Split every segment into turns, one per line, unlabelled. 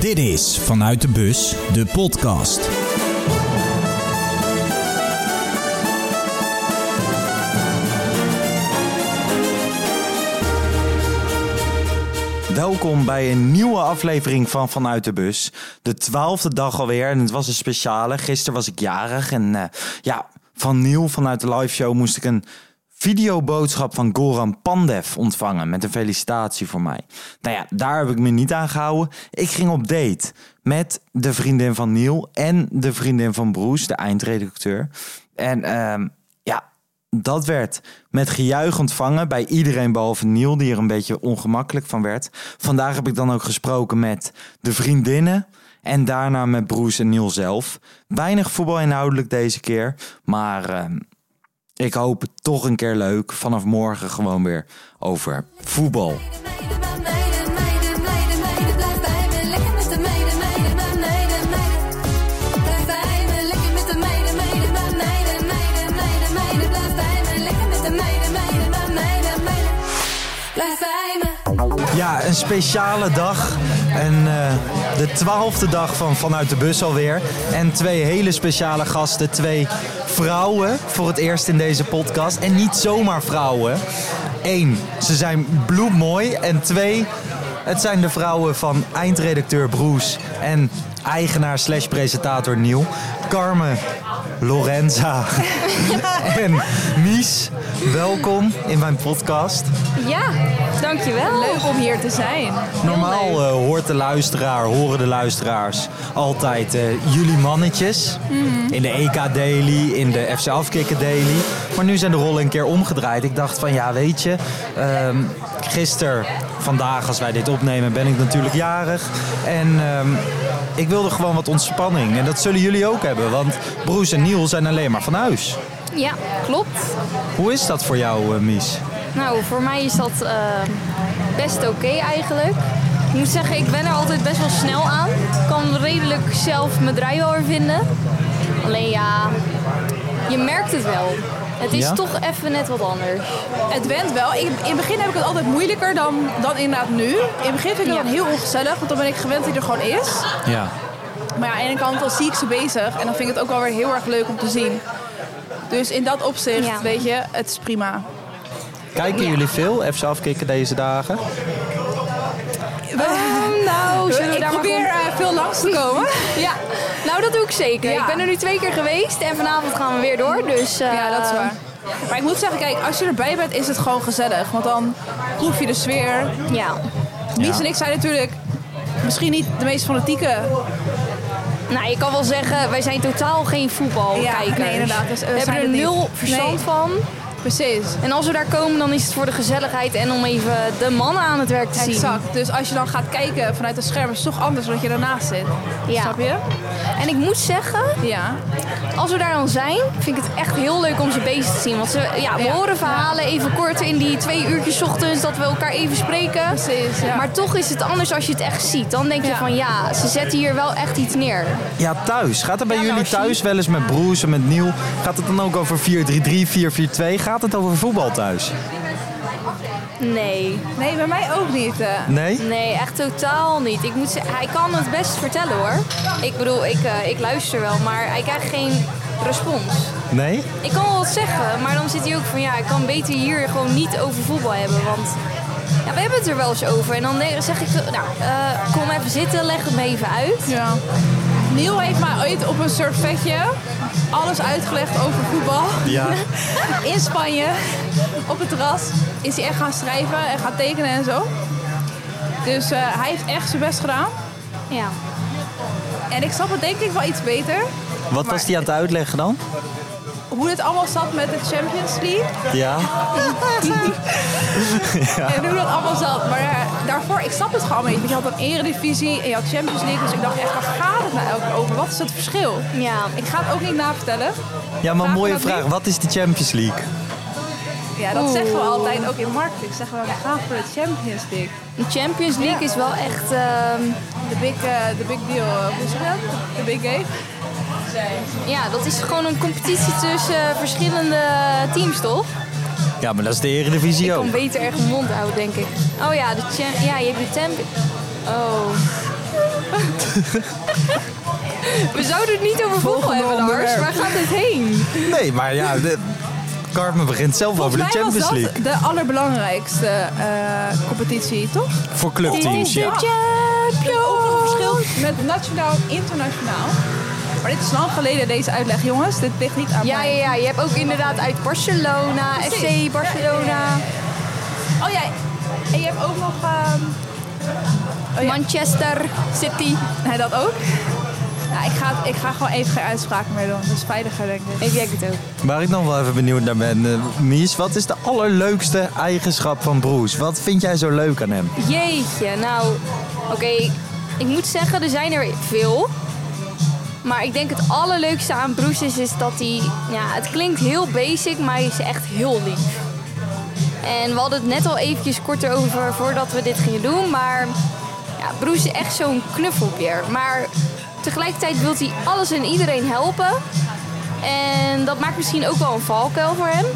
Dit is Vanuit de Bus, de podcast.
Welkom bij een nieuwe aflevering van Vanuit de Bus. De twaalfde dag alweer en het was een speciale. Gisteren was ik jarig en eh, ja, van Nieuw vanuit de live show moest ik een videoboodschap van Goran Pandev ontvangen met een felicitatie voor mij. Nou ja, daar heb ik me niet aan gehouden. Ik ging op date met de vriendin van Nieuw en de vriendin van Broes, de eindredacteur. En ehm, ja, dat werd met gejuich ontvangen bij iedereen behalve Niel, die er een beetje ongemakkelijk van werd. Vandaag heb ik dan ook gesproken met de vriendinnen en daarna met Broes en Niel zelf. Weinig voetbalinhoudelijk deze keer, maar ehm, ik hoop het toch een keer leuk. Vanaf morgen gewoon weer over voetbal.
Meiden, maar meiden, meiden, meiden, meiden, blijf bij me. Lekker met de meiden, meiden, maar meiden, meiden. Blijf bij me. Lekker met de meiden, meiden, maar meiden, meiden, meiden, meiden. Blijf bij me. Lekker met de meiden, meiden, maar meiden, meiden. Blijf bij me.
Ja, een speciale dag. En, eh, de twaalfde dag van Vanuit de Bus alweer. En twee hele speciale gasten. Twee vrouwen voor het eerst in deze podcast. En niet zomaar vrouwen. Eén, ze zijn bloedmooi. En twee, het zijn de vrouwen van eindredacteur Broes en eigenaar slash presentator Niel. Carmen, Lorenza en Mies. Welkom in mijn podcast.
Ja, dankjewel. Leuk om hier te zijn.
Normaal eh, hoort de luisteraar, horen de luisteraars altijd eh, jullie mannetjes. In de EK Daily, in de FC Afkikken Daily. Maar nu zijn de rollen een keer omgedraaid. Ik dacht van ja, weet je, ehm gisteren, vandaag als wij dit opnemen, ben ik natuurlijk jarig. En ehm, ik wilde gewoon wat ontspanning. En dat zullen jullie ook hebben, want Broes en Niel zijn alleen maar van huis.
Ja, klopt.
Hoe is dat voor jou, eh, Mies?
Nou, voor mij is dat eh, best oké eigenlijk. Ik moet zeggen, ik ben er altijd best wel snel aan. Ik kan redelijk zelf mijn draai wel weer vinden. Alleen ja, je merkt het wel. Het is
Ja?
toch even net wat anders.
Het went wel. Ik, in het begin heb ik het altijd moeilijker dan, dan inderdaad nu. In het begin vind ik het
Ja.
dan heel ongezellig, want dan ben ik gewend dat hij er gewoon is.
Ja.
Maar ja, aan de ene kant dan zie ik ze bezig en dan vind ik het ook wel weer heel erg leuk om te zien. Dus in dat opzicht,
Ja.
weet je, het is prima.
Kijken jullie veel FC Afkikken deze dagen?
nou,
ik probeer eh, veel langs te komen.
Ja, nou dat doe ik zeker.
Ja.
Ik ben er nu twee keer geweest en vanavond gaan we weer door. Dus, eh,
Ja, dat is waar. Maar ik moet zeggen, kijk, als je erbij bent, is het gewoon gezellig. Want dan proef je de sfeer.
Ja.
Mies
Ja.
en ik zijn natuurlijk misschien niet de meest fanatieke
Nou, je kan wel zeggen, wij zijn totaal geen voetbalkijkers.
Ja, nee, inderdaad. Dus,
we
eh,
hebben
zijn
er
het niet.
nul verstand
Nee.
van.
Precies.
En als we daar komen, dan is het voor de gezelligheid en om even de mannen aan het werk te zien.
Exact. Dus als je dan gaat kijken vanuit het scherm, is het toch anders dan dat je daarnaast zit.
Ja.
Snap je?
En ik moet zeggen,
Ja.
als we daar dan zijn, vind ik het echt heel leuk om ze bezig te zien. Want ze, ja, we
Ja.
horen verhalen even kort in die twee uurtjes ochtends dat we elkaar even spreken.
Precies, ja.
Maar toch is het anders als je het echt ziet. Dan denk je
Ja.
van ja, ze zetten hier wel echt iets neer.
Ja, thuis. Gaat het bij
Ja,
jullie
nou, zie-
thuis wel eens met Broes en met Nieuw? Gaat het dan ook over 4-3-3, 4-4-2? Gaat het over voetbal thuis?
Nee,
Nee, bij mij ook niet. eh.
Nee?
Nee, echt totaal niet. Ik moet zeggen, hij kan het best vertellen hoor. Ik bedoel, ik, eh, ik luister wel, maar hij krijgt geen respons.
Nee?
Ik kan wel wat zeggen, maar dan zit hij ook van ja, ik kan beter hier gewoon niet over voetbal hebben. Want ja, we hebben het er wel eens over. En dan ne- zeg ik, zo, nou, eh, kom even zitten, leg het me even uit.
Ja. Neil heeft mij ooit op een servetje alles uitgelegd over voetbal.
Ja.
In Spanje, op het terras, is hij echt gaan schrijven en gaan tekenen en zo. Dus eh, hij heeft echt zijn best gedaan.
Ja.
En ik snap het denk ik wel iets beter.
Wat was die aan het uitleggen dan?
Hoe dit allemaal zat met de Champions League.
Ja.
En hoe dat allemaal zat. Maar eh, daarvoor, ik snap het gewoon niet. Want Je had een eredivisie en je had Champions League. Dus ik dacht echt, waar gaat het nou ook over? Wat is het verschil?
Ja.
Ik ga het ook niet navertellen.
Ja, maar
Vraag
mooie
me dat
vraag.
niet.
Wat is de Champions League?
Ja, dat zeggen we altijd ook in marketing. Zeggen we, we gaan voor de Champions League.
De Champions League is wel echt. ehm,
De big, eh, de big deal. eh, Hoe zeg je dat? De big game.
ja, dat is gewoon een competitie tussen eh, verschillende teams, toch?
Ja, maar dat is de Eredivisie
Ik
ook.
kan beter echt mijn mond houden, denk ik. Oh ja, de champ. Ja, je hebt de champ. Oh. We zouden het niet over voetbal
Volgende
hebben, Lars.
onderwerp.
Waar gaat dit heen?
Nee, maar ja, de... Carmen begint zelf over de
Volgens mij was
Champions
dat
League.
de allerbelangrijkste eh, competitie, toch?
Voor clubteams, ja.
Overal verschil met nationaal en internationaal. Maar dit is lang geleden, deze uitleg, jongens. Dit ligt niet aan
Ja,
mij.
ja, ja. Je hebt ook inderdaad uit Barcelona,
Precies.
FC Barcelona,
Oh ja, en je hebt ook nog... ehm,
Manchester City.
Hij dat ook? Nou, ik, ga, ik ga gewoon even geen uitspraken meer doen. Dat is veiliger, denk ik.
Ik denk het ook.
Waar ik nog wel even benieuwd naar ben, eh, Mies, wat is de allerleukste eigenschap van Bruce? Wat vind jij zo leuk aan hem?
Jeetje, nou, oké. Ik moet zeggen, er zijn er veel. Maar ik denk het allerleukste aan Bruce is, is dat hij... Ja, het klinkt heel basic, maar hij is echt heel lief. En we hadden het net al eventjes kort over voordat we dit gingen doen. Maar ja, Bruce is echt zo'n knuffelbeer. Maar tegelijkertijd wil hij alles en iedereen helpen. En dat maakt misschien ook wel een valkuil voor hem.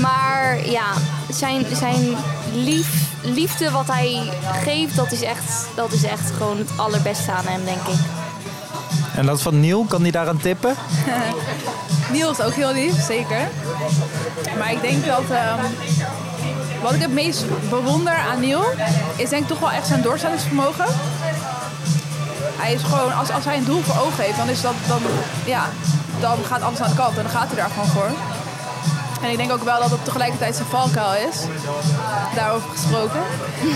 Maar ja, zijn, zijn lief, liefde wat hij geeft, dat is, echt, dat is echt gewoon het allerbeste aan hem, denk ik.
En dat van Neil, kan die daaraan tippen?
Niels ook heel lief, zeker. Maar ik denk dat ehm, wat ik het meest bewonder aan Niel is denk ik toch wel echt zijn doorzettingsvermogen. Hij is gewoon, als, als hij een doel voor ogen heeft, dan, is dat, dan, ja, dan gaat alles aan de kant en dan gaat hij daar gewoon voor. En ik denk ook wel dat het tegelijkertijd zijn valkuil is. Daarover gesproken.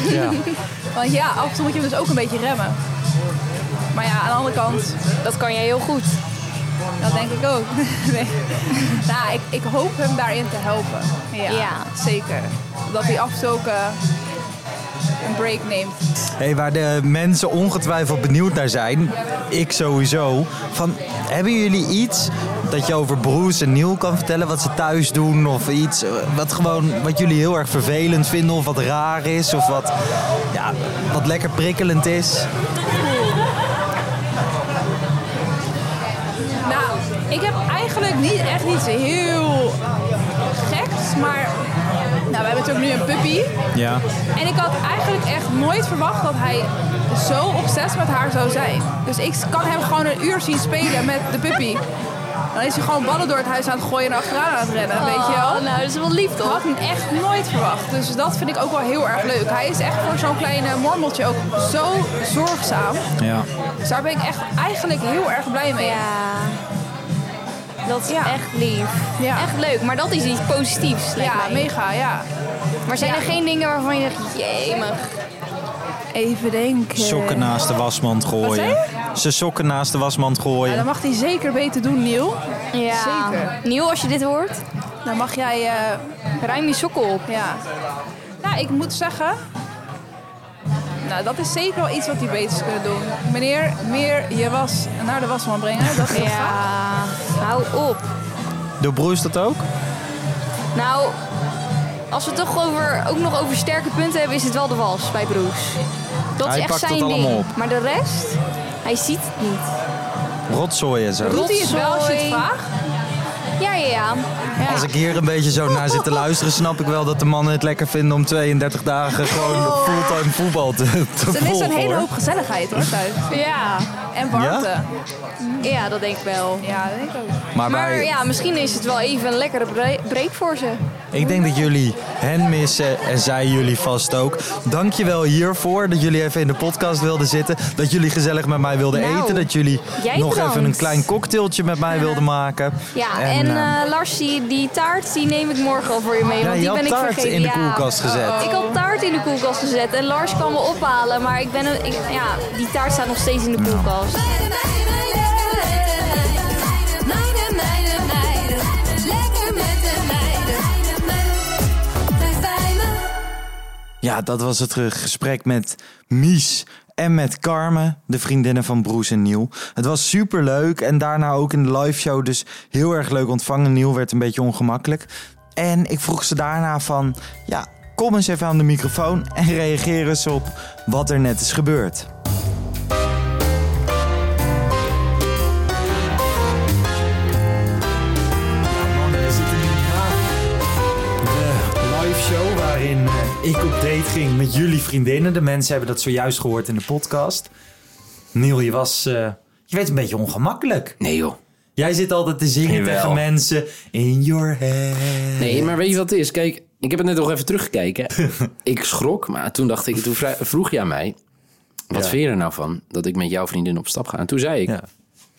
Ja.
Want ja, af en toe moet je hem dus ook een beetje remmen. Maar ja, aan de andere kant,
Dat kan jij heel goed.
dat denk ik ook. nee. Nou, ik, ik hoop hem daarin te helpen. Ja,
Ja.
zeker. Dat hij af en toe ook eh, een break neemt.
Hey, waar de mensen ongetwijfeld benieuwd naar zijn, ik sowieso. Van, hebben jullie iets dat je over Bruce en Neil kan vertellen? Wat ze thuis doen of iets eh, wat, gewoon, wat jullie heel erg vervelend vinden of wat raar is of wat, ja, wat lekker prikkelend is?
Nou, ik heb eigenlijk niet echt iets heel geks, maar... Nou, we hebben natuurlijk nu een puppy.
Ja.
En ik had eigenlijk echt nooit verwacht dat hij zo obsessief met haar zou zijn. Dus ik kan hem gewoon een uur zien spelen met de puppy. Dan is hij gewoon ballen door het huis aan het gooien en achteraan aan het rennen, weet je wel.
nou, dat is wel lief
Dat
toch?
had ik echt nooit verwacht. Dus dat vind ik ook wel heel erg leuk. Hij is echt voor zo'n kleine mormeltje ook zo zorgzaam.
ja.
Dus daar ben ik echt eigenlijk heel erg blij mee.
Ja. Dat is
Ja.
echt lief.
Ja.
Echt leuk, maar dat is iets positiefs. lijkt
Ja,
mij.
mega, ja.
Maar zijn er geen dingen waarvan je zegt, jemig.
Even denken.
Sokken naast de wasmand gooien.
Wat
Ze sokken naast de wasmand
Ja, dat
gooien.
mag hij zeker beter doen, Niel.
Ja.
Zeker.
Nieuw als je dit hoort.
Dan mag jij... eh,
Ruim je sokken op.
Ja. Nou, ik moet zeggen. Nou, dat is zeker wel iets wat die beter zou kunnen doen. Meneer, meer je was naar de wasman brengen. Dat is toch gaaf?
Ja. Hou op.
Doet Bruce dat ook?
Nou, als we het toch over, ook nog over sterke punten hebben, is het wel de wals bij Bruce. Dat
Hij
is echt
pakt het
zijn ding.
allemaal op.
Maar de rest, hij ziet het niet.
Rotzooi en zo.
Doet hij het wel als je het
Rotzooi.
vraagt?
Ja, ja, ja.
Als ik hier een beetje zo naar zit te luisteren, snap ik wel dat de mannen het lekker vinden om 32 dagen gewoon
Oh.
fulltime voetbal te, te
Er is
volgen.
een hele
hoor.
hoop gezelligheid hoor thuis.
Ja,
En warmte.
Ja?
Ja,
ja dat denk ik wel.
dat denk ik ook.
Maar,
Maar
wij-
ja, misschien is het wel even een lekkere bre- break voor ze.
ik denk dat jullie hen missen en zij jullie vast ook. Dankjewel hiervoor dat jullie even in de podcast wilden zitten. Dat jullie gezellig met mij wilden
Nou,
eten. Dat jullie
jij
nog
bedankt.
even een klein cocktailtje met mij wilden maken.
Ja, en,
eh,
eh, Lars, die, die taart die neem ik morgen al voor je mee.
ja,
want
je
die
had
ben ik
taart
vergeten.
in de
Ja. Oh,
koelkast gezet.
Ik had taart in de koelkast gezet en Lars kwam me ophalen. Maar ik ben, een- ik, ja, die taart staat nog steeds in
Nou.
de koelkast.
Meiden, meiden, lekker met de meiden. Meiden, meiden, meiden. Lekker met de meiden. Blijf bij me.
Ja, dat was het eh, gesprek met Mies en met Carmen, de vriendinnen van Broes en Niel. Het was super leuk en daarna ook in de live show dus heel erg leuk ontvangen. Niel werd een beetje ongemakkelijk. En ik vroeg ze daarna van, ja, kom eens even aan de microfoon en reageer eens op wat er net is gebeurd.
De live show waarin
waarin eh, ik op date ging met jullie vriendinnen. De mensen hebben dat zojuist gehoord in de podcast. Neil, je was... eh, je werd een beetje ongemakkelijk.
Nee joh.
Jij zit altijd te zingen
Jawel.
tegen mensen. In your head.
Nee, maar weet je wat het is? Kijk, ik heb het net nog even teruggekeken. ik schrok, maar toen dacht ik, toen vra- vroeg jij mij... Wat
Ja.
vind je er nou van dat ik met jouw vriendin op stap ga? En toen zei ik,
Ja.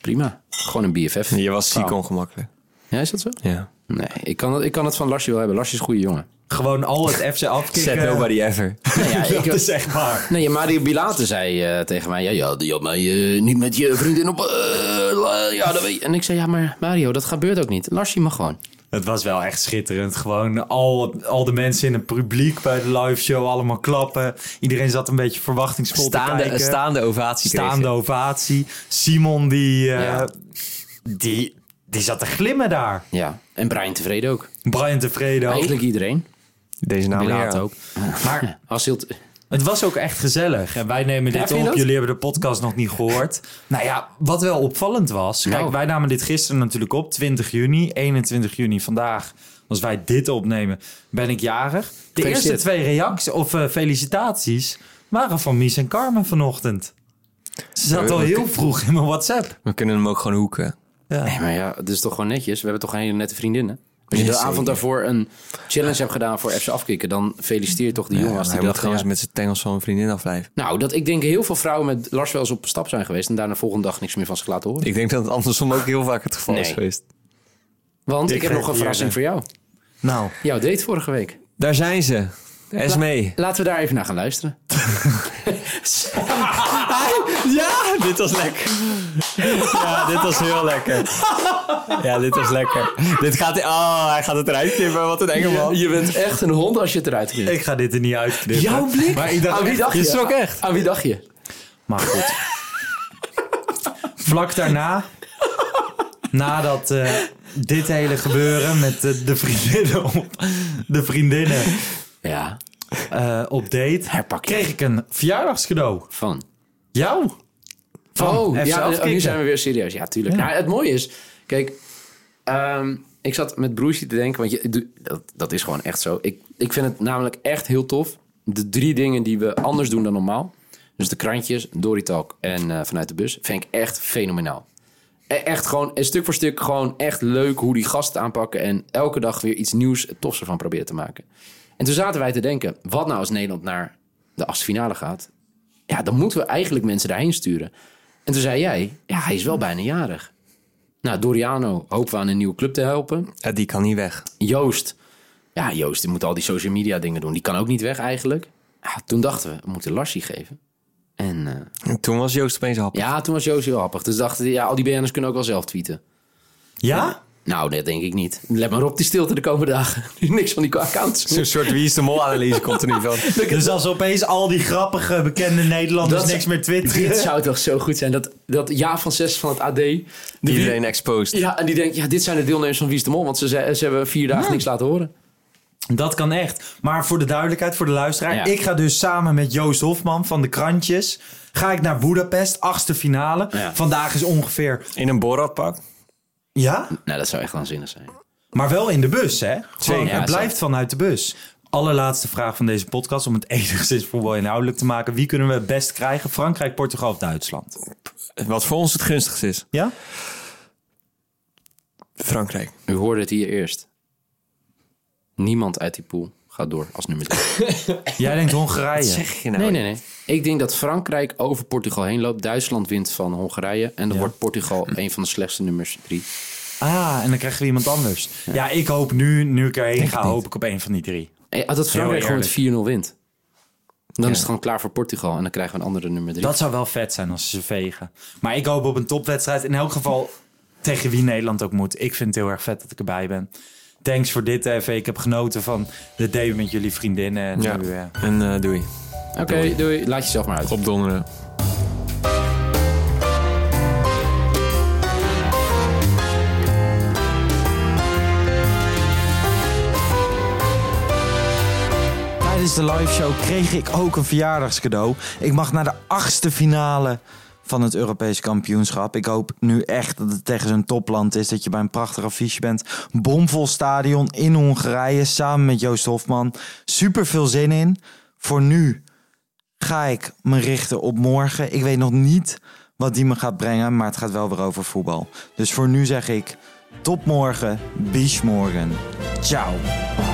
prima, gewoon een BFF.
Je was ziek
Oh.
Vrouw.
ongemakkelijk.
Ja, is dat zo?
Ja.
Nee, ik kan, het- ik kan het van Larsje wel hebben. Larsje is een goede jongen.
Gewoon al het FC
Except
afkicken.
nobody ever.
Nee, ja,
Dat
ik,
is echt waar.
nee, Mario Bilate zei eh, tegen mij... Ja, ja, die had mij eh, niet met je vriendin op... eh, la- ja, dat weet je." En ik zei, ja, maar Mario, dat gebeurt ook niet. Larsje mag gewoon.
Het was wel echt schitterend. Gewoon al, al de mensen in het publiek bij de live show allemaal klappen. Iedereen zat een beetje verwachtingsvol te
Staande,
kijken.
een staande ovatie kreeg
Staande ovatie. Simon die, eh,
Ja.
die, die zat te glimmen daar.
Ja, en Brian tevreden ook.
Brian tevreden ook.
Eigenlijk iedereen.
je. Deze naam
Bilate
leren.
ook.
Oh, Maar
Asilt,
het was ook echt gezellig. En wij nemen
Ja,
dit
vind je
op.
dat?
Jullie hebben de podcast nog niet gehoord. nou ja, wat wel opvallend was. Kijk,
Nou.
wij namen dit gisteren natuurlijk op. 20 juni, 21 juni vandaag. Als wij dit opnemen, ben ik jarig. De eerste
Gefeliciteerd.
twee reacties of eh, felicitaties waren van Mies en Carmen vanochtend. Ze zat
Ja,
al
we-
heel vroeg in mijn WhatsApp.
We kunnen hem ook gewoon hoeken.
Nee, maar ja, het is toch gewoon netjes. We hebben toch een hele nette vriendinnen. Als je
Ja,
de
zeker.
avond daarvoor een challenge hebt gedaan voor FC Afkikken, dan feliciteer je toch die jongen als die
hij moet
dacht.
gewoon eens
ja.
met zijn tengels van een vriendin afblijven.
Nou, dat ik denk heel veel vrouwen met Lars wel eens op stap zijn geweest en daarna de volgende dag niks meer van zich laten horen.
Ik denk dat het andersom ook heel vaak het geval is
Nee.
geweest.
Want ik,
Ik
heb nog een
reageerde.
eh,
verrassing voor jou.
Nou,
Jouw date vorige week.
Daar zijn ze. Esmee.
Laten we daar even naar gaan luisteren.
Ja, dit was lekker. Ja, dit was heel lekker. Ja, dit was lekker. Dit gaat... Oh, hij gaat het eruit knippen. Wat een enge man.
Je bent echt een hond als je het eruit knipt.
ik ga dit er niet uitknippen.
Jouw blik?
Maar ik Oh, dacht
Aan wie
echt-
dacht je?
Je schrok echt.
Aan wie dacht je?
Maar goed. Vlak daarna, nadat eh, dit hele gebeuren met de, de vriendinnen op, de vriendinnen,
Ja,
eh, op date,
herpak je.
kreeg ik een verjaardagscadeau.
Van.
Jou? Van
oh,
FC
ja,
Afkikken.
nu zijn we weer serieus. Ja, tuurlijk. Nou, het mooie is, kijk, ehm, ik zat met Broesje te denken, want je, doe- dat, dat is gewoon echt zo. Ik, ik vind het namelijk echt heel tof. De drie dingen die we anders doen dan normaal. Dus de krantjes, Doritalk en eh, vanuit de bus, vind ik echt fenomenaal. E- Echt gewoon, eh, stuk voor stuk, gewoon echt leuk hoe die gasten aanpakken. En elke dag weer iets nieuws, het tofste van proberen te maken. En toen zaten wij te denken, wat nou als Nederland naar de achtste finale gaat? ja, dan moeten we eigenlijk mensen daarheen sturen. En toen zei jij, ja, hij is wel bijna jarig. Nou, Doriano hopen we aan een nieuwe club te helpen.
Ja, die kan niet weg.
Joost, ja, Joost, die moet al die social media dingen doen. Die kan ook niet weg eigenlijk. Ja, toen dachten we, we moeten Larsie geven. En eh,
En toen was Joost opeens happig.
ja, toen was Joost heel happig. Dus dachten we, ja, al die BN'ers kunnen ook wel zelf tweeten.
Ja?
Nou, dat denk ik niet. Let maar op die stilte de komende dagen. Niks van die accounts.
Zo'n soort wie is de mol-analyse komt er nu van.
Dus als opeens al die grappige bekende Nederlanders
Dat-
niks meer
Dit
twitteren.
zou toch zo goed zijn. Dat, dat ja van zes van het AD. de drie-
Iedereen exposed.
Ja, en die denkt, ja, dit zijn de deelnemers van Wie is de Mol, want ze, ze, ze hebben vier dagen niks laten horen.
Dat kan echt. Maar voor de duidelijkheid, voor de luisteraar.
Ja.
Ik ga dus samen met Joost Hofman van de Krantjes. Ga ik naar Boedapest, achtste finale.
Ja.
Vandaag is ongeveer...
In een Borat-pak.
Ja?
Nou, dat zou echt waanzinnig zijn.
Maar wel in de bus, hè? Gewoon,
Ja,
het blijft
zeker.
vanuit de bus. Allerlaatste vraag van deze podcast, om het enigszins voetbal inhoudelijk te maken. Wie kunnen we het best krijgen? Frankrijk, Portugal of Duitsland?
Wat voor ons het gunstigst is.
Ja?
Frankrijk.
U hoorde het hier eerst. Niemand uit die pool gaat door als nummer drie.
Jij denkt Hongarije.
Zeg je nou?
Nee, nee, nee. Ik denk dat Frankrijk over Portugal heen loopt. Duitsland wint van Hongarije. En dan wordt Portugal een van de slechtste nummers drie.
Ah, en dan krijgen we iemand anders. Ja, ik hoop nu, nu ik erheen ga, hoop ik op een van die drie.
Eh, Dat Frankrijk gewoon
eerlijk.
met 4-0 wint. Dan is het gewoon klaar voor Portugal. En dan krijgen we een andere nummer drie.
Dat zou wel vet zijn als ze ze vegen. Maar ik hoop op een topwedstrijd. In elk geval tegen wie Nederland ook moet. Ik vind het heel erg vet dat ik erbij ben. Thanks voor dit even. Ik heb genoten van de date met jullie vriendinnen. En
Ja.
nu, eh,
En eh, doei.
Oké, doei. Laat jezelf maar uit.
Op donderen.
Tijdens de live show kreeg ik ook een verjaardagscadeau. Ik mag naar de achtste finale van het Europees kampioenschap. Ik hoop nu echt dat het tegen zo'n topland is. Dat je bij een prachtig affiche bent. Bomvol stadion in Hongarije samen met Joost Hofman. Super veel zin in. Voor nu ga ik me richten op morgen. Ik weet nog niet wat die me gaat brengen, maar het gaat wel weer over voetbal. Dus voor nu zeg ik tot morgen, bis morgen. Ciao.